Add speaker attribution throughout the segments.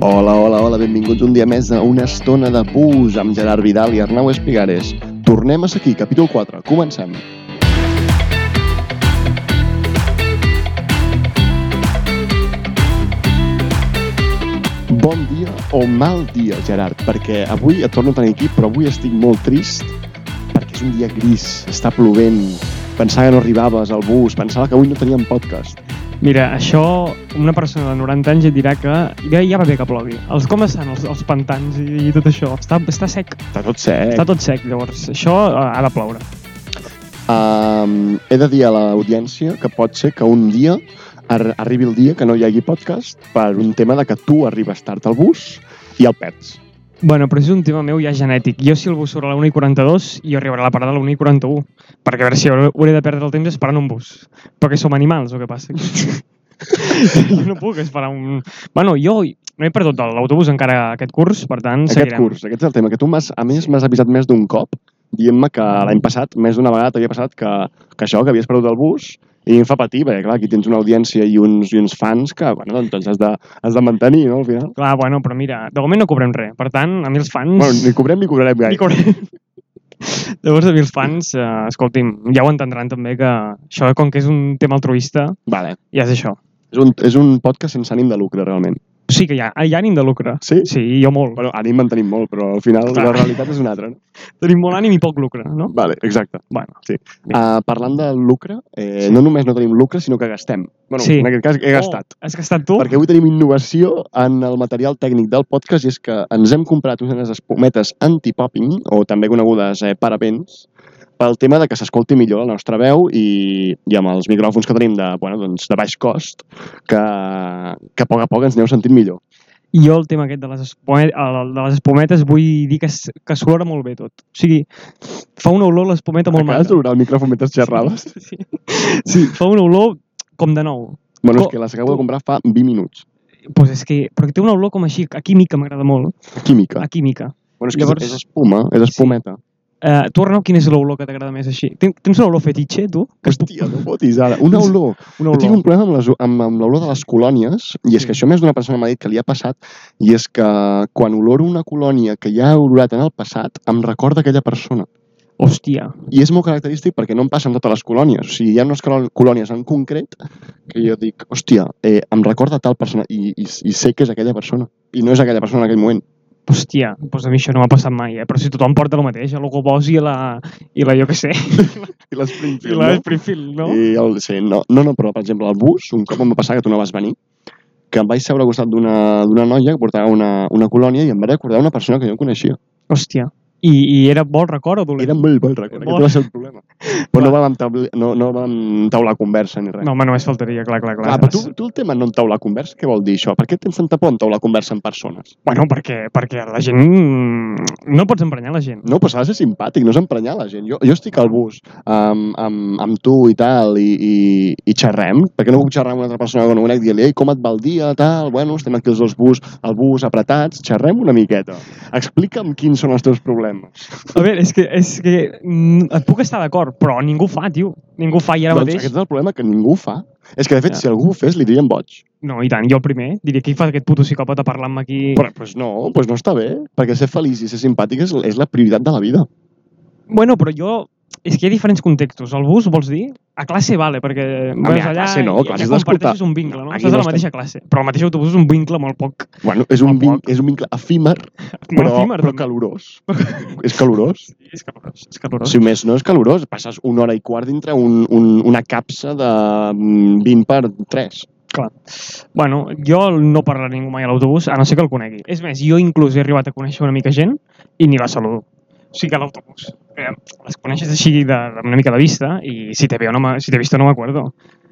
Speaker 1: Hola, hola, hola, benvinguts un dia més a una estona de bus amb Gerard Vidal i Arnau Espigares. Tornem a aquí, capítol 4. Comencem. Bon dia o mal dia, Gerard, perquè avui et torno a tenir aquí, però avui estic molt trist perquè és un dia gris, està plovent, pensava que no arribaves al bus, pensava que avui no teníem podcast.
Speaker 2: Mira, això, una persona de 90 anys et dirà que ja, ja va bé que plogui. Els, com estan els, els pantans i, i tot això? Està, està sec,
Speaker 1: Està tot sec.
Speaker 2: està tot sec, llavors. Això eh, ha de ploure.
Speaker 1: Um, he de dir a l'audiència que pot ser que un dia ar arribi el dia que no hi hagi podcast per un tema de que tu arribes tard al bus i el perds.
Speaker 2: Bueno, però és un tema meu ja genètic. Jo si el bus surt a la 1 i 42, jo arribaré a la parada a la 1 i 41. Perquè a veure si hauré hauré de perdre el temps esperant un bus. Però que som animals o què passa? jo no puc esperar un... Bueno, jo no he perdut l'autobús encara aquest curs, per tant,
Speaker 1: Aquest
Speaker 2: seguirem.
Speaker 1: curs, aquest és el tema, que tu, m'has- a més, m'has avisat més d'un cop dient-me que l'any passat, més d'una vegada t'havia passat que, que això, que havies perdut el bus i em fa patir, perquè clar, aquí tens una audiència i uns, i uns fans que, bueno, doncs has de, has de mantenir, no, al final.
Speaker 2: Clar, bueno, però mira, de moment no cobrem res. Per tant, a mi els fans...
Speaker 1: Bueno, ni cobrem ni cobrarem
Speaker 2: Mm. Ni
Speaker 1: gaire.
Speaker 2: cobrem. Llavors, a mi els fans, eh, escolti'm, ja ho entendran també que això, com que és un tema altruista,
Speaker 1: Vale.
Speaker 2: ja és això.
Speaker 1: És un, és un podcast sense ànim de lucre, realment.
Speaker 2: Sí que hi ha, hi ha ànim de lucre.
Speaker 1: Sí?
Speaker 2: Sí, jo molt.
Speaker 1: Bueno, ànim en tenim molt, però al final
Speaker 2: Clar.
Speaker 1: la realitat és una altra, no?
Speaker 2: Tenim molt ànim i poc lucre, no?
Speaker 1: Vale, exacte.
Speaker 2: Bueno,
Speaker 1: Uh, parlant del lucre, eh, sí. no només no tenim lucre, sinó que gastem. Bueno, sí.
Speaker 2: Sí.
Speaker 1: en aquest cas he gastat.
Speaker 2: Oh, has gastat tu?
Speaker 1: Perquè avui tenim innovació en el material tècnic del podcast i és que ens hem comprat unes espumetes anti-popping, o també conegudes eh, parabens, pel tema de que s'escolti millor la nostra veu i, i amb els micròfons que tenim de, bueno, doncs, de baix cost, que, que a poc a poc ens aneu sentint millor.
Speaker 2: I jo el tema aquest de les, espumet, el de les espumetes vull dir que, s- que s'olora molt bé tot. O sigui, fa una olor l'espumeta molt
Speaker 1: Acabes
Speaker 2: maca.
Speaker 1: d'obrar el micròfon mentre xerraves?
Speaker 2: Sí. sí, fa una olor com de nou.
Speaker 1: bueno,
Speaker 2: Co-
Speaker 1: és que les acabo de comprar fa 20 minuts.
Speaker 2: Pues és que, perquè té una olor com així, a química m'agrada molt,
Speaker 1: Química.
Speaker 2: a química.
Speaker 1: Bueno, és que
Speaker 2: Ah, Llavors-
Speaker 1: és, és espuma, és espumeta.
Speaker 2: Uh, tu, Arnau, quina és l'olor que t'agrada més així? Ten- Tens una olor fetitxe, tu? Que és
Speaker 1: Hòstia, no fotis ara. Una olor.
Speaker 2: una
Speaker 1: Jo tinc
Speaker 2: olor.
Speaker 1: un problema amb les- amb amb l'olor de les colònies, i és que això més d'una persona m'ha dit que li ha passat, i és que quan oloro una colònia que ja he olorat en el passat, em recorda aquella persona.
Speaker 2: Hòstia.
Speaker 1: I és molt característic perquè no em passa amb totes les colònies. O sigui, hi ha unes colo- colònies en concret que jo dic, hòstia, eh, em recorda tal persona, i, i, i sé que és aquella persona. I no és aquella persona en aquell moment.
Speaker 2: Hòstia, doncs a mi això no m'ha passat mai, eh? Però si tothom porta el mateix, el Gobos i la... i la jo què sé,
Speaker 1: I les eh?
Speaker 2: i la Springfield, no?
Speaker 1: I el, sí, no, no, no, però per exemple al bus, un cop em va passar que tu no vas venir, que em vaig seure al costat d'una d'una noia que portava una, una colònia i em va recordar una persona que jo coneixia.
Speaker 2: Hòstia. I, I era bon record o dolent?
Speaker 1: Era molt bon record,
Speaker 2: Molt.
Speaker 1: aquest va ser el problema. Però no vam, tabl- no, no vam taular conversa ni res.
Speaker 2: No, home, només faltaria, clar, clar, clar.
Speaker 1: Clar, però tu, tu el tema no entaular conversa, què vol dir això? Per què tens tanta por en taular conversa amb persones?
Speaker 2: Bueno, perquè, perquè la gent... mm, No pots emprenyar la gent.
Speaker 1: No, però s'ha de ser simpàtic, no és emprenyar la gent. Jo, jo estic al bus amb, amb, amb tu i tal, i, i, i xerrem, perquè no puc xerrar amb una altra persona que no conec, dient-li, ei, com et va el dia, tal, bueno, estem aquí els dos bus, al bus apretats, xerrem una miqueta. Explica'm quins són els teus problemes.
Speaker 2: A veure, és que, és que mm, et puc estar d'acord, però ningú ho fa, tio. Ningú ho fa i ara
Speaker 1: doncs
Speaker 2: mateix...
Speaker 1: aquest és el problema que ningú fa. És que, de fet,
Speaker 2: Ja.
Speaker 1: si algú ho fes, li dirien boig.
Speaker 2: No, i tant, jo el primer. Diria, qui fa aquest puto psicòpata parlant-me aquí...
Speaker 1: Però pues no, pues no està bé, perquè ser feliç i ser simpàtic és, és la prioritat de la vida.
Speaker 2: Bueno, però jo... És que hi ha diferents contextos. El bus, vols dir? A classe, vale, perquè vas
Speaker 1: a classe no,
Speaker 2: i-
Speaker 1: classe
Speaker 2: ja
Speaker 1: has d'escoltar.
Speaker 2: comparteixes un vincle, no?
Speaker 1: Aquí
Speaker 2: Estàs a
Speaker 1: no
Speaker 2: la mateixa classe. Però el mateix autobús és un vincle molt poc...
Speaker 1: Bueno, és un,
Speaker 2: Molt
Speaker 1: vin,
Speaker 2: poc.
Speaker 1: és un vincle efímer,
Speaker 2: molt
Speaker 1: però,
Speaker 2: efímer,
Speaker 1: però
Speaker 2: també.
Speaker 1: calorós. és calorós.
Speaker 2: Sí, És calorós, és calorós.
Speaker 1: Si més no és calorós, passes una hora i quart dintre un, un, una capsa de mm, 20 per 3.
Speaker 2: Bueno, jo no parlaré ningú mai a l'autobús, a no ser que el conegui. És més, jo inclús he arribat a conèixer una mica gent i ni la saludo. O sigui que a l'autobús. Eh, les coneixes així de, de, una mica de vista i si t'he vist no me- si t'he vist no m'acuerdo.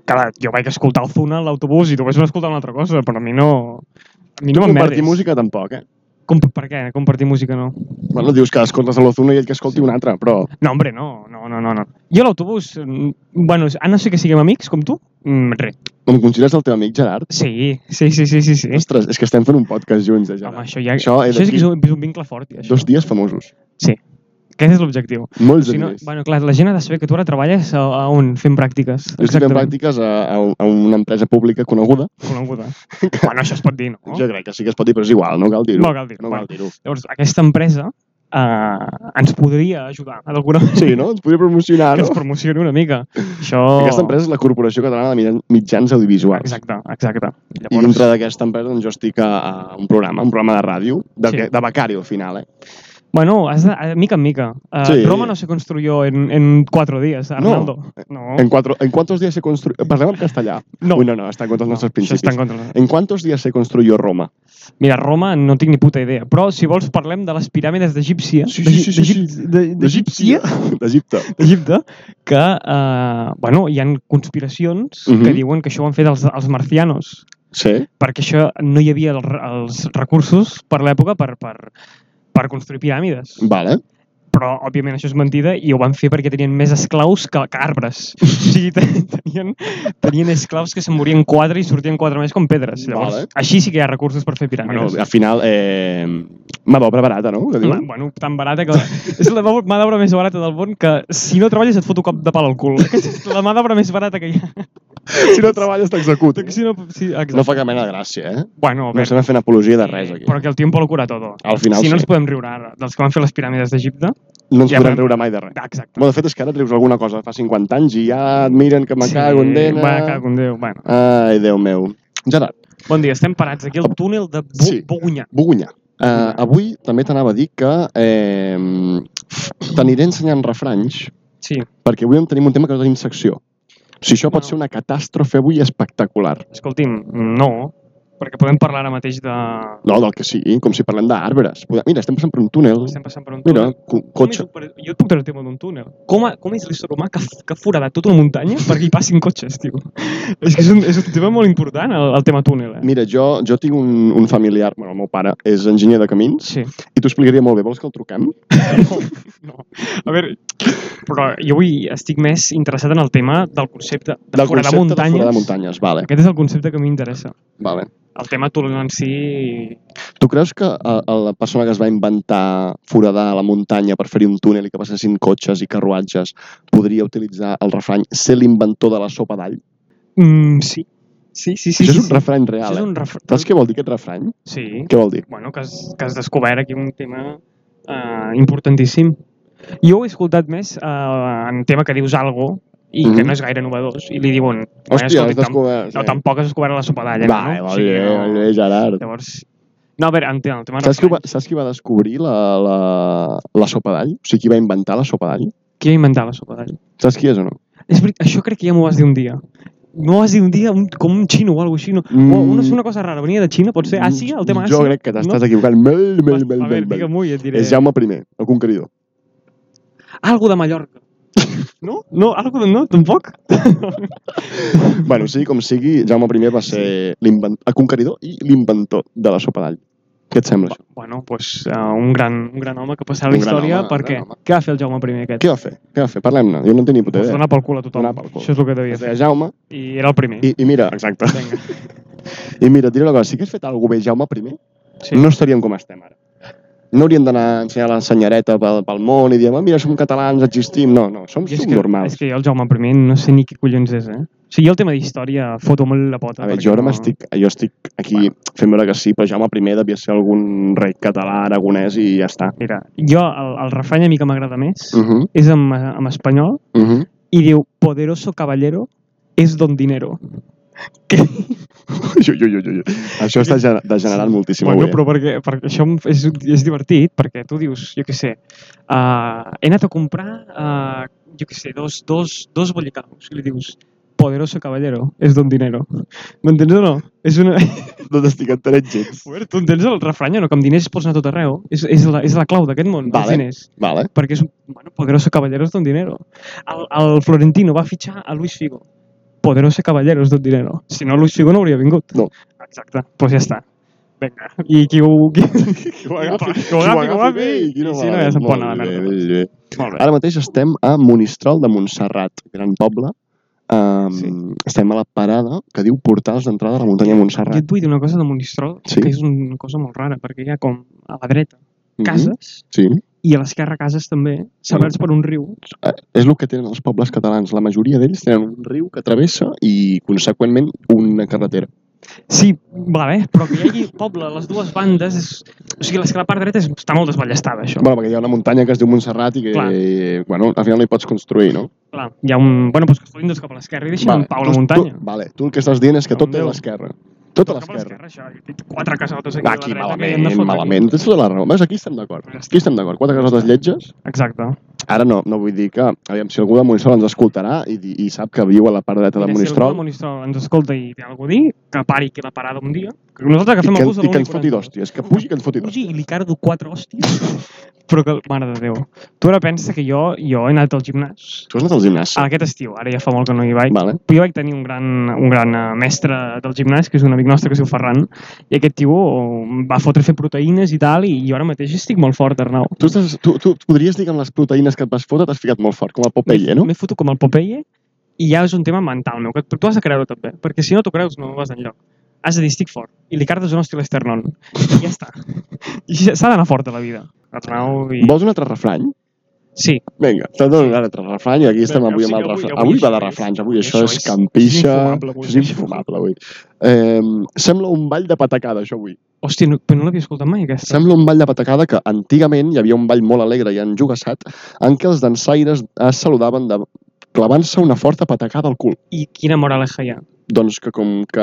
Speaker 2: Clar, jo vaig escoltar el Zuna a l'autobús i tu vas escoltar una altra cosa, però a mi no... A mi no
Speaker 1: Compartir
Speaker 2: m'emmerdes.
Speaker 1: música tampoc, eh?
Speaker 2: Com, per què? Compartir música no.
Speaker 1: Bueno, dius que escoltes a l'Ozuna i ell que escolti un altre, però
Speaker 2: No, hombre, no, no, no, no. no. Jo a l'autobús, mm, bueno, a no ser que siguem amics com tu, mm, res.
Speaker 1: em consideres el teu amic Gerard?
Speaker 2: Sí, sí, sí, sí, sí. sí.
Speaker 1: Ostres, és que estem fent un podcast junts, eh,
Speaker 2: Home,
Speaker 1: Gerard.
Speaker 2: això ja...
Speaker 1: Això
Speaker 2: Això,
Speaker 1: he de
Speaker 2: això és, que
Speaker 1: dir-
Speaker 2: és un, és un vincle fort, ja, això.
Speaker 1: Dos dies famosos.
Speaker 2: Sí. Aquest és l'objectiu.
Speaker 1: Molts
Speaker 2: Si no,
Speaker 1: diners.
Speaker 2: bueno, clar, la gent ha de saber que tu ara treballes a, a on? Fent pràctiques.
Speaker 1: Jo estic fent pràctiques a, a, a una empresa pública coneguda.
Speaker 2: Coneguda. bueno, això es pot dir, no?
Speaker 1: Jo crec que sí que es pot dir, però és igual, no cal dir-ho.
Speaker 2: No cal dir-ho,
Speaker 1: No cal dir-ho.
Speaker 2: Llavors, aquesta empresa eh, ens podria ajudar d'alguna manera.
Speaker 1: Sí, no? Ens podria promocionar,
Speaker 2: Que
Speaker 1: no?
Speaker 2: ens promocioni una mica. Això...
Speaker 1: Aquesta empresa és la Corporació Catalana de Mitjan- Mitjans Audiovisuals.
Speaker 2: Exacte, exacte.
Speaker 1: I dintre d'aquesta empresa doncs, jo estic a, a un programa, un programa de ràdio, de,
Speaker 2: Sí.
Speaker 1: sí. de becari al final, eh?
Speaker 2: Bueno, has de, eh, mica en mica. Uh,
Speaker 1: Sí.
Speaker 2: Roma no se construyó en, en cuatro días, Arnaldo. No,
Speaker 1: En, cuatro, en quantos días se construyó... Parlem en castellà.
Speaker 2: Oh. No.
Speaker 1: Ui, no, no, està en contra dels nostres
Speaker 2: això
Speaker 1: principis.
Speaker 2: està en contra.
Speaker 1: En quantos días se construyó Roma?
Speaker 2: Mira, Roma no tinc ni puta idea, però si vols parlem de les piràmides d'Egípcia.
Speaker 1: Sí, sí, sí, sí,
Speaker 2: d'Egip-
Speaker 1: sí.
Speaker 2: de- D'Egípcia?
Speaker 1: D'Egipte.
Speaker 2: D'Egipte, que, eh, bueno, hi han conspiracions que
Speaker 1: Mhm.
Speaker 2: diuen que això ho han fet els, els marcianos,
Speaker 1: Sí.
Speaker 2: perquè això no hi havia els, re- els recursos per l'època per, per, per construir piràmides.
Speaker 1: Vale.
Speaker 2: però òbviament això és mentida i ho van fer perquè tenien més esclaus que, que arbres. O sigui, ten- tenien, tenien esclaus que se'n morien quatre i sortien quatre més com pedres. Llavors,
Speaker 1: Vale.
Speaker 2: vale. així sí que hi ha recursos per fer
Speaker 1: Bueno,
Speaker 2: piràmides.
Speaker 1: al final, eh, mà d'obra barata, no? Que
Speaker 2: Ma,
Speaker 1: diuen?
Speaker 2: bueno, tan barata que... És la mà mà d'obra més barata del món que si no treballes et fot un cop de pal al cul. Aquesta és la mà d'obra més barata que hi ha.
Speaker 1: Si no treballes, t'executa.
Speaker 2: Si no, sí, exacte.
Speaker 1: No fa cap mena de gràcia, eh?
Speaker 2: Bueno, a
Speaker 1: No
Speaker 2: veure,
Speaker 1: estem fent apologia de res, aquí.
Speaker 2: però que el tiempo lo cura todo.
Speaker 1: Al final,
Speaker 2: si no
Speaker 1: sí.
Speaker 2: ens podem riure ara dels que van fer les piràmides d'Egipte...
Speaker 1: No ens
Speaker 2: Ja
Speaker 1: podrem
Speaker 2: veurem.
Speaker 1: riure mai de res.
Speaker 2: Ah, Exacte.
Speaker 1: Bueno, de fet, és que ara treus alguna cosa de fa 50 anys i ja et miren que me cago en eh. dena.
Speaker 2: Va, cago en Déu. Bueno.
Speaker 1: Ai, Déu meu. Gerard,
Speaker 2: Bon dia, estem parats aquí al túnel de Bo
Speaker 1: Sí.
Speaker 2: Bogunyà.
Speaker 1: Bogunyà. Uh, avui també t'anava a dir que eh, t'aniré ensenyant refranys
Speaker 2: Sí,
Speaker 1: perquè avui en tenim un tema que no tenim secció. Si això pot
Speaker 2: Bueno.
Speaker 1: ser una catàstrofe avui espectacular.
Speaker 2: escolti'm, no, perquè podem parlar ara mateix de...
Speaker 1: No, del que sigui, com si parlem d'arbres. Podem- Mira, estem passant per un túnel.
Speaker 2: Estem passant per un
Speaker 1: Mira,
Speaker 2: túnel.
Speaker 1: co
Speaker 2: Com és,
Speaker 1: cotxe.
Speaker 2: un- jo et puc treure el tema d'un túnel. Com, a, com és l'ésser humà que, f- que ha foradat tota una muntanya perquè hi passin cotxes, tio? És que és un, és un tema molt important, el, el tema túnel, eh?
Speaker 1: Mira, jo, jo tinc un, un familiar, bueno, el meu pare és enginyer de camins,
Speaker 2: Sí.
Speaker 1: i t'ho explicaria molt bé. Vols que el truquem?
Speaker 2: No, no. A veure, però jo avui estic més interessat en el tema del concepte de
Speaker 1: Del
Speaker 2: foradar
Speaker 1: concepte
Speaker 2: muntanyes.
Speaker 1: de foradar muntanyes, vale.
Speaker 2: Aquest és el concepte que m'interessa.
Speaker 1: vale.
Speaker 2: El tema túnel en si...
Speaker 1: Tu creus que a, a la persona que es va inventar foradar a la muntanya per fer-hi un túnel i que passessin cotxes i carruatges podria utilitzar el refrany ser l'inventor de la sopa d'all?
Speaker 2: Mm, sí. Sí, sí, sí.
Speaker 1: Això és
Speaker 2: sí,
Speaker 1: un
Speaker 2: sí.
Speaker 1: refrany
Speaker 2: Això
Speaker 1: real,
Speaker 2: és
Speaker 1: eh?
Speaker 2: un ref...
Speaker 1: Saps què vol dir aquest refrany?
Speaker 2: Sí.
Speaker 1: Què vol dir?
Speaker 2: bueno, que has, que has descobert aquí un tema eh, importantíssim. Jo ho he escoltat més eh, en tema que dius algo i que
Speaker 1: Mhm.
Speaker 2: no és gaire novedós i li diuen...
Speaker 1: Hòstia, has
Speaker 2: escolti, tam-
Speaker 1: descobert... eh?
Speaker 2: No, tampoc has descobert la sopa d'alla.
Speaker 1: Va,
Speaker 2: no?
Speaker 1: va
Speaker 2: O sigui,
Speaker 1: bé,
Speaker 2: no.
Speaker 1: va bé, eh, Gerard.
Speaker 2: Llavors... No, a veure, en tema, el tema
Speaker 1: Saps qui, va,
Speaker 2: refranys.
Speaker 1: saps qui va descobrir la, la, la sopa d'all? O sigui, qui va inventar la sopa d'all?
Speaker 2: Qui va inventar la sopa d'alla?
Speaker 1: Saps qui és o no?
Speaker 2: És veritat, això crec que ja m'ho vas dir un dia. M'ho vas dir un dia un, com un xino o alguna cosa així. No? O una,
Speaker 1: Mm.
Speaker 2: una cosa rara, venia de Xina, pot ser? Àsia, ah, el tema Àsia?
Speaker 1: Jo crec que t'estàs equivocant. Mel, mel, mel,
Speaker 2: A veure,
Speaker 1: mel,
Speaker 2: eh.
Speaker 1: mel.
Speaker 2: digue-m'ho i et diré.
Speaker 1: És Jaume I, el conqueridor.
Speaker 2: Algo de Mallorca. No? No, algo de... No, tampoc?
Speaker 1: Bueno, sigui com sigui, Jaume I va ser l'invent- el conqueridor i l'inventor de la sopa d'all. Què et sembla? això?
Speaker 2: Bueno, doncs uh, un, gran, un gran home que passarà a la
Speaker 1: Un gran
Speaker 2: història
Speaker 1: home,
Speaker 2: per
Speaker 1: un
Speaker 2: què?
Speaker 1: gran home.
Speaker 2: Què va fer el Jaume I aquest?
Speaker 1: Què va fer? Què va fer? Parlem-ne. Jo no en tinc ni puta
Speaker 2: Vas
Speaker 1: idea.
Speaker 2: donar pel cul a tothom.
Speaker 1: Donar pel cul.
Speaker 2: Això és el que devia
Speaker 1: Es
Speaker 2: fer.
Speaker 1: deia Jaume
Speaker 2: I era el primer.
Speaker 1: i, i mira,
Speaker 2: Exacte. Vinga.
Speaker 1: i mira, et diré una cosa, si hagués fet alguna cosa bé Jaume I,
Speaker 2: Sí.
Speaker 1: no estaríem com estem ara. No hauríem d'anar a ensenyar la senyareta pel, pel món i diem, ah, mira, som catalans, existim. No, no, som
Speaker 2: Jo és, que, és
Speaker 1: subnormals.
Speaker 2: que jo el Jaume I no sé ni qui collons és, eh? O sigui, jo el tema d'història foto molt la pota.
Speaker 1: A veure,
Speaker 2: perquè
Speaker 1: jo ara
Speaker 2: no-
Speaker 1: m'estic, jo estic aquí fent veure que sí, però Jaume I devia ser algun rei català, aragonès i ja està.
Speaker 2: Mira, jo el, el refrany a mi que m'agrada més
Speaker 1: Uh -huh,
Speaker 2: és en, en espanyol
Speaker 1: uh -huh.
Speaker 2: i diu poderoso caballero es don dinero.
Speaker 1: Jo, jo, jo, jo, jo. Això està gener- degenerant moltíssim
Speaker 2: bueno,
Speaker 1: avui. eh?
Speaker 2: però perquè, perquè això em- és, és divertit, perquè tu dius, jo què sé, uh, he anat a comprar, uh, jo què sé, dos, dos, dos bollicaus, i li dius, poderoso caballero, és don dinero. M'entens o no? És una...
Speaker 1: No t'estic entenent gens.
Speaker 2: Bueno, tu entens el refrany o no? Que amb diners pots anar a tot arreu. És, és, la, és la clau d'aquest món,
Speaker 1: Vale.
Speaker 2: els diners.
Speaker 1: Vale.
Speaker 2: Perquè és un bueno, poderoso caballero és don dinero. El, el Florentino va fitxar a Luis Figo. Poderoso caballero és don dinero. Si no, Luis Figo no hauria vingut.
Speaker 1: No.
Speaker 2: Exacte, doncs pues ja està. Vinga, i qui ho... Qui...
Speaker 1: Que
Speaker 2: ho agafi, que ho agafi, que ho agafi. I si no, ja se'n pot anar a la merda. Molt bé.
Speaker 1: Ara mateix estem a Monistrol de Montserrat, gran poble. Um,
Speaker 2: Sí.
Speaker 1: sí. Estem a la parada que diu Portals d'entrada a la muntanya de
Speaker 2: Ah, Jo
Speaker 1: Montserrat.
Speaker 2: et vull dir una cosa de Monistrol,
Speaker 1: Sí.
Speaker 2: que és una cosa molt rara, perquè hi ha com a la dreta cases
Speaker 1: Mhm, Sí.
Speaker 2: I a l'esquerra cases també, sebrats per un riu.
Speaker 1: Eh, És el que tenen els pobles catalans. La majoria d'ells tenen un riu que travessa i, conseqüentment, una carretera.
Speaker 2: Sí, vale, però que hi hagi poble a les dues bandes, és... o sigui, la la part dreta és... està molt desballestada, això.
Speaker 1: Bueno, perquè hi ha una muntanya que es diu Montserrat i que,
Speaker 2: Clar.
Speaker 1: bueno, al final no hi pots construir, no?
Speaker 2: Clar, hi ha un... Bueno, doncs que es fotin dos cap a l'esquerra i deixin en pau la
Speaker 1: tu-
Speaker 2: muntanya.
Speaker 1: Tu, vale, tu el que estàs dient és que
Speaker 2: Amb
Speaker 1: tot és a
Speaker 2: Déu.
Speaker 1: l'esquerra. doncs Tot a
Speaker 2: Cap a
Speaker 1: l'esquerra.
Speaker 2: l'esquerra, això. Jo tinc quatre casotes aquí,
Speaker 1: Aquí,
Speaker 2: a la dreta. que hi hem de
Speaker 1: malament,
Speaker 2: fotre.
Speaker 1: malament. Tens tota la raó. Ves, aquí estem d'acord.
Speaker 2: Ja està.
Speaker 1: Aquí estem d'acord. Quatre cases lletges.
Speaker 2: Exacte.
Speaker 1: Ara no, no vull dir que... Aviam, si algú de Monistrol ens escoltarà i, di- i sap que viu a la part dreta de
Speaker 2: Mira, Si algú
Speaker 1: Monistrol
Speaker 2: de Monistrol ens escolta i té alguna cosa a dir, que pari aquí a la parada un dia. Que nosaltres
Speaker 1: i
Speaker 2: agafem
Speaker 1: que,
Speaker 2: el bus a
Speaker 1: i que ens foti d'hòsties, que pugi que ens foti d'hòsties.
Speaker 2: Ugi i li cardo quatre hòsties. Però que, mare de Déu. Tu ara pensa que jo, jo he anat al gimnàs
Speaker 1: Tu has anat al gimnàs?
Speaker 2: aquest estiu. Ara ja fa molt que no hi vaig.
Speaker 1: Vale.
Speaker 2: Però jo vaig tenir un gran, un gran eh, mestre del gimnàs, que és un amic nostre que es diu Ferran, i aquest tio em va fotre a fer proteïnes i tal, i jo ara mateix estic molt fort, Arnau.
Speaker 1: Tu, estàs, tu, tu podries dir que amb les proteïnes que et vas fotre t'has ficat molt fort, com el Popeye, no?
Speaker 2: M'he fotut com el Popeye i ja és un tema mental meu, que tu tu has de creure també, perquè si no t'ho creus no vas enlloc. Has de dir, estic fort, i li cardes un hòstil esternon. I ja està. I ja- S'ha d'anar fort a la vida. Arnau i...
Speaker 1: Vols un altre refrany?
Speaker 2: Sí.
Speaker 1: Vinga, te dono un altre refrany, aquí estem
Speaker 2: Vinga,
Speaker 1: avui amb
Speaker 2: sí,
Speaker 1: el
Speaker 2: avui-
Speaker 1: refrany.
Speaker 2: avui
Speaker 1: Avui va de
Speaker 2: això és-
Speaker 1: refranys, avui
Speaker 2: avui
Speaker 1: això
Speaker 2: això
Speaker 1: és
Speaker 2: és
Speaker 1: campixa,
Speaker 2: infumable, avui,
Speaker 1: és infumable avui. Eh, sembla un ball de patacada, això avui.
Speaker 2: Hòstia, no, però no l'havia escoltat mai, aquesta.
Speaker 1: Sembla un ball de patacada que antigament hi havia un ball molt alegre i enjugassat en què els dansaires es saludaven de clavant-se una forta patacada al cul.
Speaker 2: I quina moraleja hi ha.
Speaker 1: Doncs que com que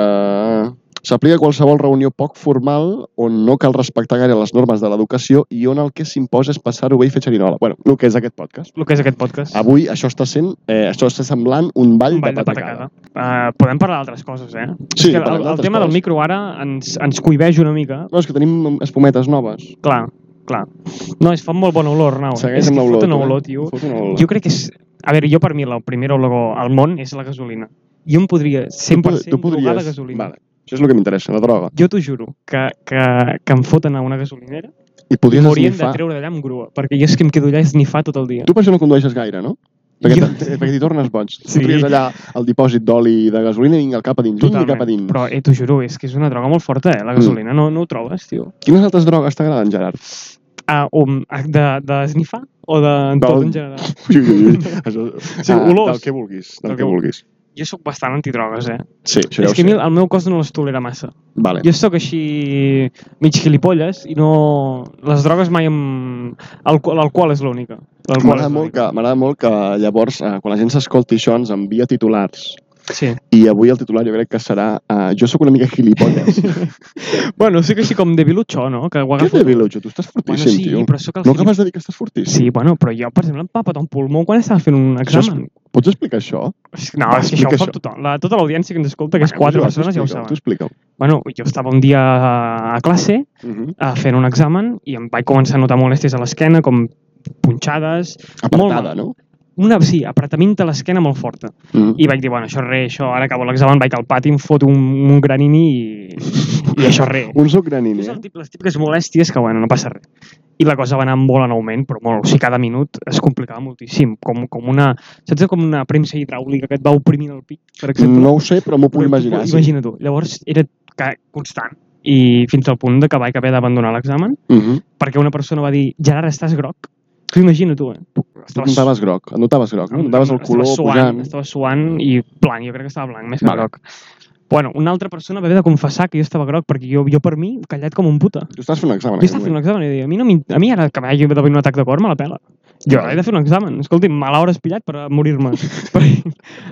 Speaker 1: s'aplica a qualsevol reunió poc formal on no cal respectar gaire les normes de l'educació i on el que s'imposa és passar-ho bé i fer xerinola. Bueno, el que és aquest podcast.
Speaker 2: El que és aquest podcast.
Speaker 1: Avui això està sent, eh, això està semblant un ball,
Speaker 2: un ball
Speaker 1: de patacada.
Speaker 2: Uh, podem parlar d'altres coses, eh?
Speaker 1: Sí,
Speaker 2: És que
Speaker 1: parlem
Speaker 2: el, el
Speaker 1: d'altres
Speaker 2: tema del
Speaker 1: coses.
Speaker 2: micro ara ens, ens cuiveix una mica.
Speaker 1: No, és que tenim espumetes noves.
Speaker 2: Clar, clar. No, es fa molt bona olor, Arnau.
Speaker 1: Segueix
Speaker 2: és
Speaker 1: amb
Speaker 2: que
Speaker 1: l'olor.
Speaker 2: fot una
Speaker 1: tu, eh?
Speaker 2: olor, tio.
Speaker 1: Fot una olor.
Speaker 2: Jo crec que és... A veure, jo per mi la primera olor al món és la gasolina. Jo em podria 100% tu, drogar de gasolina.
Speaker 1: Vale. Això és el que m'interessa, la droga.
Speaker 2: Jo t'ho juro, que, que, que em foten a una gasolinera
Speaker 1: I podries
Speaker 2: m'haurien de
Speaker 1: esnifar.
Speaker 2: treure d'allà amb grua, perquè jo és que em quedo allà a esnifar tot el dia.
Speaker 1: Tu per això no condueixes gaire, no? Perquè
Speaker 2: Jo-
Speaker 1: t- t- perquè t'hi tornes boig.
Speaker 2: Sí.
Speaker 1: Sí. Tries allà al dipòsit d'oli i de gasolina i vinga al cap a dins, vinga
Speaker 2: Totalment.
Speaker 1: cap a dins. Mm.
Speaker 2: Però eh, t'ho juro, és que és una droga molt forta, eh, la gasolina. No, no ho trobes, tio.
Speaker 1: Quines altres drogues t'agraden, Gerard?
Speaker 2: Ah, o de, de esnifar o de tot en general?
Speaker 1: Ui, ui, ui. Això... Ah,
Speaker 2: Sí, olors.
Speaker 1: Del que vulguis, del
Speaker 2: Del
Speaker 1: que
Speaker 2: que
Speaker 1: vulguis.
Speaker 2: Jo sóc bastant antidrogues, eh?
Speaker 1: Sí, això ja
Speaker 2: és
Speaker 1: ho sé.
Speaker 2: que a mi el meu cos no les tolera massa.
Speaker 1: Vale.
Speaker 2: Jo sóc així mig gilipolles i no... Les drogues mai em... Alco- L'alcohol és l'única. L'alcohol
Speaker 1: M'agrada
Speaker 2: és
Speaker 1: molt,
Speaker 2: l'única.
Speaker 1: que, m'agrada molt que llavors, eh, quan la gent s'escolti això, ens envia titulars.
Speaker 2: Sí.
Speaker 1: I avui el titular jo crec que serà eh, Jo sóc una mica gilipolles.
Speaker 2: Bueno, sí que així com de bilutxo, no? Que ho
Speaker 1: Què
Speaker 2: agafo...
Speaker 1: de Vilojo? Tu estàs
Speaker 2: Bueno,
Speaker 1: fortíssim,
Speaker 2: sí,
Speaker 1: tio.
Speaker 2: però sóc el
Speaker 1: No
Speaker 2: gilip-
Speaker 1: acabes de dir que estàs fortíssim?
Speaker 2: Sí, bueno, però jo, per exemple, em va patar un pulmó quan estava fent un
Speaker 1: Això és-
Speaker 2: examen.
Speaker 1: Pots explicar això?
Speaker 2: És... No, és que
Speaker 1: Explica
Speaker 2: això ho fa
Speaker 1: això.
Speaker 2: tothom. La, tota l'audiència que ens escolta, que és quatre
Speaker 1: Gerard, tu
Speaker 2: persones, ja ho
Speaker 1: explica-ho, Tu
Speaker 2: saben.
Speaker 1: explica-ho.
Speaker 2: Bueno, jo estava un dia a classe
Speaker 1: Uh -huh.
Speaker 2: eh, fent un examen i em vaig començar a notar molèsties a l'esquena, com punxades... Molt
Speaker 1: Apartada,
Speaker 2: mal.
Speaker 1: no?
Speaker 2: Una, sí, apretament de l'esquena molt forta.
Speaker 1: Uh -huh.
Speaker 2: I vaig dir, bueno, això res, això, ara acabo l'examen, vaig al pati, em foto un, un granini i, i això res.
Speaker 1: Un suc granín,
Speaker 2: És
Speaker 1: eh?
Speaker 2: el tip, les típiques molèsties que, bueno, no passa res. I la cosa va anar molt en augment, però molt. O sigui, cada minut es complicava moltíssim. Com, com una, saps com una premsa hidràulica que et va oprimint el pic, per exemple?
Speaker 1: No ho sé, però m'ho puc imaginar. Sí.
Speaker 2: Imagina tu. Llavors era ca- constant i fins al punt de que vaig haver d'abandonar l'examen
Speaker 1: Uh -huh.
Speaker 2: perquè una persona va dir, Gerard, estàs groc? Tu imagina tu, eh?
Speaker 1: Tu notaves groc, et notaves groc, no? notaves el color
Speaker 2: estava suant,
Speaker 1: pujant.
Speaker 2: Estava suant i blanc, jo crec que estava blanc, més que
Speaker 1: Vale.
Speaker 2: vale. groc. Bueno, una altra persona va haver de confessar que jo estava groc, perquè jo, jo per mi, callat com un puta.
Speaker 1: Tu estàs fent un examen. eh, en aquest
Speaker 2: Jo estava fent
Speaker 1: moment.
Speaker 2: un examen i deia, a mi, no m'in- a mi ara que m'hagi de venir un atac de cor, me la pela. Jo
Speaker 1: Vale.
Speaker 2: he de fer un examen. Escolti, me l'hauràs pillat per morir-me. Perquè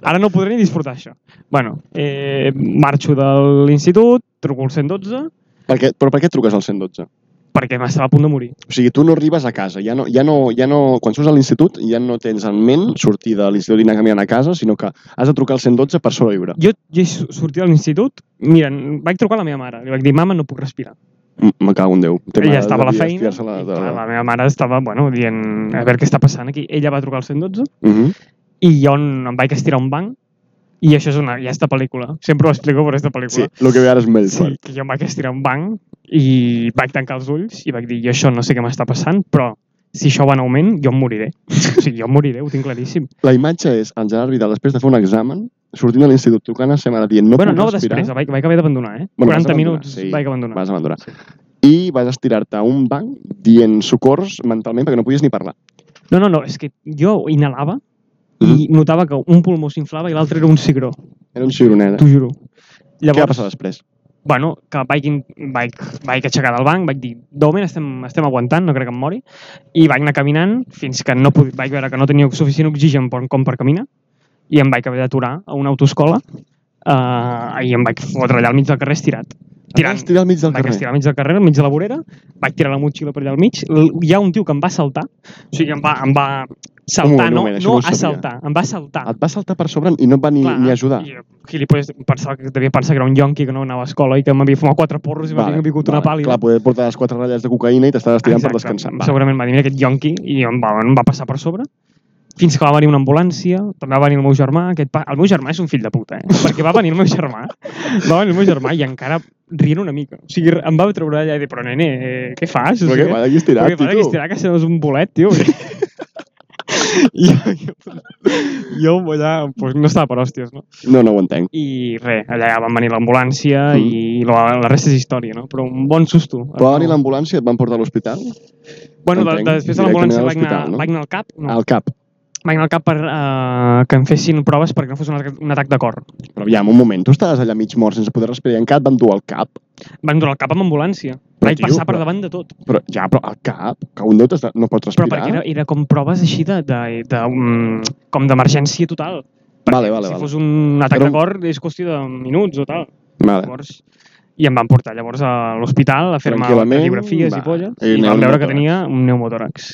Speaker 2: ara no podré ni disfrutar això. Bueno, eh, marxo de l'institut, truco al 112,
Speaker 1: Per què, però per què truques al 112?
Speaker 2: perquè m'estava a punt de morir.
Speaker 1: O sigui, tu no arribes a casa, ja no, ja no, ja no, quan surts a l'institut ja no tens en ment sortir de l'institut i anar caminant a casa, sinó que has de trucar al 112 per sobreviure.
Speaker 2: Jo, jo sortia de l'institut, mira, vaig trucar a la meva mare, li vaig dir, mama, no puc respirar.
Speaker 1: M- Me cago en Déu. Tema
Speaker 2: ella estava a la
Speaker 1: de- de
Speaker 2: feina
Speaker 1: estirar-se La,
Speaker 2: i
Speaker 1: de...
Speaker 2: clar, la meva mare estava bueno, dient a veure què està passant aquí. Ella va trucar al 112
Speaker 1: Uh -huh.
Speaker 2: i jo n- em vaig estirar a un banc i això és una, ja esta pel·lícula, sempre ho explico per aquesta
Speaker 1: Sí,
Speaker 2: pel·lícula.
Speaker 1: el que ve ara és Melford.
Speaker 2: sí que jo em vaig estirar a un banc i vaig tancar els ulls i vaig dir, jo això no sé què m'està passant, però si això va en augment, jo em moriré. o sigui, jo em moriré, ho tinc claríssim.
Speaker 1: La imatge és el Gerard Vidal després de fer un examen, sortint de l'institut, trucant a sa mare dient no
Speaker 2: bueno,
Speaker 1: puc
Speaker 2: no
Speaker 1: respirar,
Speaker 2: després, vaig, vaig haver d'abandonar, eh?
Speaker 1: Bueno, vas
Speaker 2: 40
Speaker 1: abandonar,
Speaker 2: minuts
Speaker 1: sí.
Speaker 2: vaig abandonar.
Speaker 1: vas abandonar. i vas estirar-te a un banc dient socors mentalment perquè no podies ni parlar.
Speaker 2: No, no, no, és que jo inhalava i
Speaker 1: Mm-hmm.
Speaker 2: notava que un pulmó s'inflava i l'altre era un cigró,
Speaker 1: Era un xironet.
Speaker 2: t'ho juro.
Speaker 1: Què va passar després?
Speaker 2: bueno, que vaig, vaig, vaig aixecar del banc, vaig dir, de moment estem, estem aguantant, no crec que em mori, i vaig anar caminant fins que no pudi, vaig veure que no tenia suficient oxigen per, com per caminar, i em vaig haver d'aturar a una autoscola eh, i em vaig fotre allà al mig del carrer estirat.
Speaker 1: Vas tirar al mig del
Speaker 2: Em Vaig
Speaker 1: carrer.
Speaker 2: estirar al mig del carrer, al mig de la vorera, vaig tirar la motxilla per allà al mig, l- hi ha un tio que em va saltar, o sigui, em va, em va
Speaker 1: Un
Speaker 2: saltar,
Speaker 1: moment, un
Speaker 2: no,
Speaker 1: moment, això
Speaker 2: no,
Speaker 1: no ho
Speaker 2: no
Speaker 1: sabia.
Speaker 2: assaltar, em va saltar.
Speaker 1: Et va saltar per sobre i no et va ni, ni ajudar.
Speaker 2: I, eh, gilipolles, pensava que devia pensar que era un yonqui que no anava a escola i que m'havia fumat quatre porros i m'havia vale, vingut una pàl·lida.
Speaker 1: Clar, poder portar les quatre ratlles de cocaïna i t'estaves tirant per descansar.
Speaker 2: Vale. Segurament va dir, mira aquest yonqui, i em va, em va passar per sobre. Fins que va venir una ambulància, també va venir el meu germà, aquest pa... el meu germà és un fill de puta, eh? perquè va venir el meu germà, va venir el meu germà i encara rient una mica. O sigui, em va treure allà i dir, però nene, eh, què fas?
Speaker 1: Però
Speaker 2: o
Speaker 1: què,
Speaker 2: sigui,
Speaker 1: va d'aquí estirat,
Speaker 2: perquè
Speaker 1: tio.
Speaker 2: que estirar que se és un bolet, tio. I jo, jo, jo allà, pues, no estava per hòsties, no?
Speaker 1: No, no ho entenc.
Speaker 2: I res,
Speaker 1: Mm-hmm.
Speaker 2: allà van venir l'ambulància
Speaker 1: Mm.
Speaker 2: mm. i la, la resta és història, no? Però un bon susto.
Speaker 1: Però va venir l'ambulància, et van portar a l'hospital?
Speaker 2: Bueno, de,
Speaker 1: entenc,
Speaker 2: de, després de
Speaker 1: directament
Speaker 2: l'ambulància
Speaker 1: a
Speaker 2: vaig, anar,
Speaker 1: l'hospital, no? Ah.
Speaker 2: no? vaig anar al cap, no,
Speaker 1: Al cap.
Speaker 2: vaig anar al cap per eh, que em fessin proves perquè no fos un, atac- un atac de cor.
Speaker 1: Però aviam, un moment, tu estaves allà mig mort sense poder respirar i encara et van dur al cap.
Speaker 2: Van dur al cap amb ambulància.
Speaker 1: Però,
Speaker 2: Però, vaig
Speaker 1: tio,
Speaker 2: passar
Speaker 1: però-
Speaker 2: per davant de tot.
Speaker 1: Però ja, però al cap, que un Déu t'està- no pots
Speaker 2: Però
Speaker 1: respirar.
Speaker 2: perquè era, era com proves així de, de, de um, com d'emergència total. Perquè
Speaker 1: Vale, vale,
Speaker 2: si
Speaker 1: vale.
Speaker 2: fos un atac
Speaker 1: Era un-
Speaker 2: de cor és qüestió de minuts o tal.
Speaker 1: Vale.
Speaker 2: Llavors, I em van portar llavors a l'hospital a fer-me
Speaker 1: Tranquil·lament,
Speaker 2: radiografies
Speaker 1: va.
Speaker 2: i polles
Speaker 1: I
Speaker 2: i, i van veure
Speaker 1: pneumotòrax.
Speaker 2: que tenia un pneumotòrax.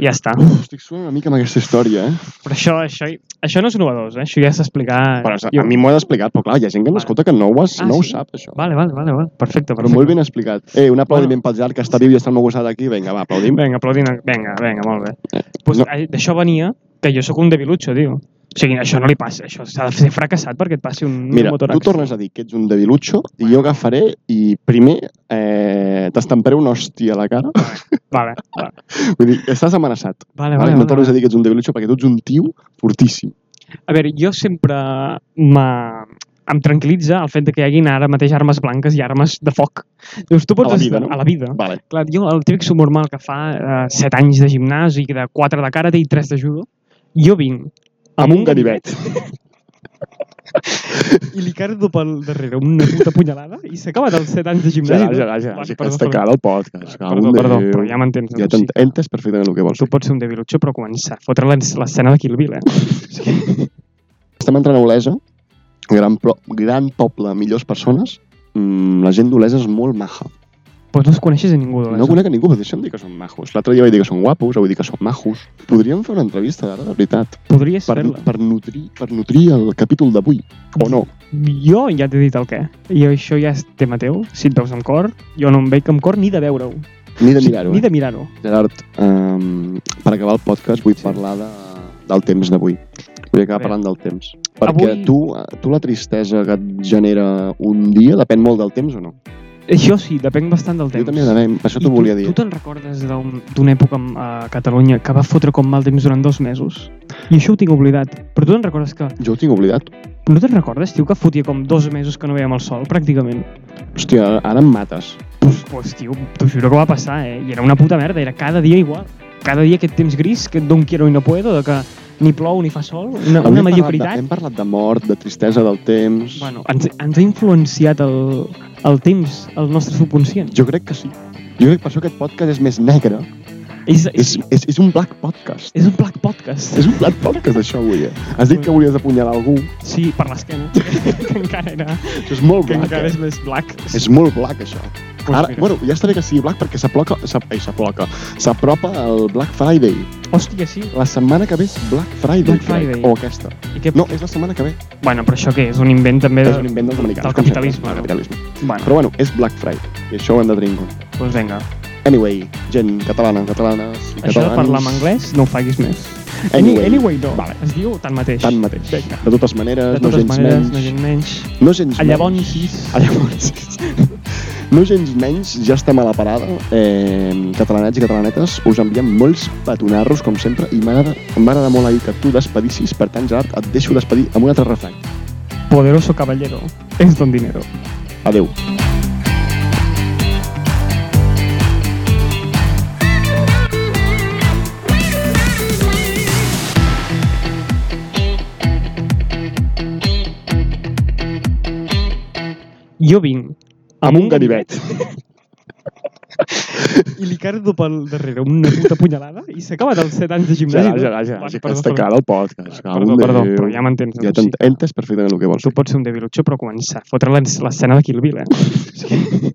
Speaker 2: I ja està.
Speaker 1: Uf, estic suant una mica amb aquesta història, eh?
Speaker 2: Però això, això, això no és novedós, eh? això ja s'ha explicat.
Speaker 1: Però a,
Speaker 2: Jo-
Speaker 1: a mi m'ho ha d'explicar, però clar, hi ha gent que
Speaker 2: Vale.
Speaker 1: m'escolta que no ho, has,
Speaker 2: Ah,
Speaker 1: no ho
Speaker 2: sí?
Speaker 1: sap, això.
Speaker 2: Vale, vale, vale, vale. perfecte.
Speaker 1: Però
Speaker 2: perfecte.
Speaker 1: molt ben explicat. Eh, un aplaudiment pel Gerard, que està viu i està al meu costat aquí. Vinga, va, aplaudim.
Speaker 2: Vinga, aplaudim. Vinga, vinga, molt bé. Pues,
Speaker 1: Eh, No.
Speaker 2: no. D'això venia que jo sóc un debilutxo, tio. O sigui, això no li passa. Això s'ha de ser fracassat perquè et passi un
Speaker 1: Mira,
Speaker 2: motor.
Speaker 1: tu tornes a dir que ets un debilutxo i jo agafaré i primer eh, t'estamparé una hòstia a la cara.
Speaker 2: Vale, vale.
Speaker 1: Vull dir, estàs amenaçat.
Speaker 2: vale,
Speaker 1: Vale,
Speaker 2: vale,
Speaker 1: no tornes
Speaker 2: vale.
Speaker 1: a dir que ets un debilutxo perquè tu ets un tio fortíssim.
Speaker 2: A veure, jo sempre m'ha- em tranquil·litza el fet de que hi haguin ara mateix armes blanques i armes de foc. Llavors, tu
Speaker 1: A
Speaker 2: pots
Speaker 1: la vida,
Speaker 2: estar-
Speaker 1: no?
Speaker 2: A la vida.
Speaker 1: Vale.
Speaker 2: Clar, jo el típic subnormal que fa eh, 7 anys de gimnàs i de 4 de karate i 3 de judo, jo vinc
Speaker 1: Amb
Speaker 2: amb,
Speaker 1: un ganivet.
Speaker 2: i li cardo pel darrere una puta punyalada i s'acaba dels 7 anys de gimnàs.
Speaker 1: Gerard, Gerard, Gerard,
Speaker 2: Vale,
Speaker 1: Gerard,
Speaker 2: perdó,
Speaker 1: està
Speaker 2: perdó.
Speaker 1: clar el podcast. que
Speaker 2: Perdó,
Speaker 1: un
Speaker 2: perdó,
Speaker 1: Déu.
Speaker 2: però ja m'entens.
Speaker 1: Ja
Speaker 2: doncs sí.
Speaker 1: t'ent- entes perfectament el que vols.
Speaker 2: Tu pots ser un debilutxo, però comença a fotre l'en- l'escena de Kill Bill, eh?
Speaker 1: Estem entrant a Olesa, gran, pro, gran poble, millors persones. Mm, la gent d'Olesa és molt maja.
Speaker 2: Però no es coneixes a ningú de
Speaker 1: No conec a ningú, però deixa'm dir que són majos. L'altre dia vaig dir que són guapos, avui dir que són majos. Podríem fer una entrevista, ara, de veritat,
Speaker 2: Podries
Speaker 1: per,
Speaker 2: fer-la.
Speaker 1: per, nutrir, per nutrir el capítol d'avui, o no?
Speaker 2: Jo ja t'he dit el què. I això ja és tema teu. Si et veus amb cor, jo no em veig amb cor ni de veure-ho.
Speaker 1: Ni de mirar-ho,
Speaker 2: Ni
Speaker 1: eh?
Speaker 2: de mirar-ho.
Speaker 1: Gerard, um, per acabar el podcast vull
Speaker 2: Sí.
Speaker 1: parlar de, del temps d'avui. Vull acabar
Speaker 2: Bé.
Speaker 1: parlant del temps. Perquè
Speaker 2: Avui-
Speaker 1: tu, eh, tu la tristesa que et genera un dia depèn molt del temps o no?
Speaker 2: Jo sí, depèn bastant del temps.
Speaker 1: Jo també depèn, per això
Speaker 2: I
Speaker 1: t'ho volia dir.
Speaker 2: Tu te'n recordes d'un- d'una època amb- a Catalunya que va fotre com mal temps durant dos mesos? I això ho tinc oblidat. Però tu te'n recordes que...
Speaker 1: Jo ho tinc oblidat.
Speaker 2: No te'n recordes, tio, que fotia com dos mesos que no veiem el sol, pràcticament?
Speaker 1: Hòstia, ara em mates.
Speaker 2: Pues, tio, t'ho juro que va passar, eh? I era una puta merda, era cada dia igual. Cada dia aquest temps gris, que d'on quiero i no puedo, de que ni plou ni fa sol, una,
Speaker 1: Avui
Speaker 2: una
Speaker 1: hem parlat
Speaker 2: mediocritat.
Speaker 1: De, hem parlat de mort, de tristesa del temps...
Speaker 2: Bueno, ens, ens ha influenciat el, el temps, el nostre subconscient.
Speaker 1: Jo crec que sí. Jo crec que per això aquest podcast és més negre.
Speaker 2: És, és,
Speaker 1: És, és, és un black podcast.
Speaker 2: és un black podcast.
Speaker 1: És un black podcast, això, avui. Eh? Has dit que volies apunyalar algú.
Speaker 2: Sí, per l'esquena. que encara era...
Speaker 1: Això és molt
Speaker 2: Que
Speaker 1: black.
Speaker 2: encara
Speaker 1: eh?
Speaker 2: és més black.
Speaker 1: És molt black, això.
Speaker 2: Pues
Speaker 1: Ara,
Speaker 2: mira.
Speaker 1: bueno, ja estaré que sigui black perquè s'apropa... s'ap- Ai, s'apropa. S'apropa el Black Friday.
Speaker 2: Hòstia, sí.
Speaker 1: La setmana que ve és Black Friday,
Speaker 2: Black
Speaker 1: crec,
Speaker 2: Friday.
Speaker 1: O aquesta.
Speaker 2: I que...
Speaker 1: No, és la setmana que ve.
Speaker 2: Bueno, però això què és? Un invent també de...
Speaker 1: És un invent dels americans.
Speaker 2: del
Speaker 1: com sempre,
Speaker 2: capitalisme,
Speaker 1: Del
Speaker 2: no?
Speaker 1: capitalisme.
Speaker 2: Bueno,
Speaker 1: Però bueno, és Black Friday. I això ho hem de tenir en compte.
Speaker 2: doncs pues vinga.
Speaker 1: Anyway, gent catalana, catalanes i
Speaker 2: Això de
Speaker 1: catalans...
Speaker 2: parlar en anglès no ho facis més.
Speaker 1: Anyway,
Speaker 2: anyway no.
Speaker 1: Vale.
Speaker 2: Es diu tanmateix.
Speaker 1: Tanmateix.
Speaker 2: Vinga.
Speaker 1: De totes maneres,
Speaker 2: De
Speaker 1: no
Speaker 2: totes
Speaker 1: gens menys.
Speaker 2: maneres, no gens menys.
Speaker 1: No gens
Speaker 2: A llavors...
Speaker 1: menys. A llavors. No gens menys, ja estem a la parada. Eh, catalanets i catalanetes, us enviem molts petonarros, com sempre, i m'agrada em va agradar molt ahir que tu despedissis, per tant, Gerard, et deixo despedir amb un altre refrany.
Speaker 2: Poderoso caballero es don dinero.
Speaker 1: Adeu.
Speaker 2: Jo vinc
Speaker 1: Amb un ganivet.
Speaker 2: I li cardo pel darrere una puta punyalada i s'ha acabat els 7 anys de gimnàsia.
Speaker 1: Gerard, Gerard, Gerard,
Speaker 2: Bueno,
Speaker 1: que has
Speaker 2: perdó,
Speaker 1: tancat el podcast.
Speaker 2: Perdó, perdó, perdó, però ja m'entens.
Speaker 1: Ja
Speaker 2: no?
Speaker 1: t'ent- entes perfectament el que vols.
Speaker 2: Tu pots ser un debilutxo, però començar a fotre l'ens- l'escena de Kill Bill, eh? O sigui,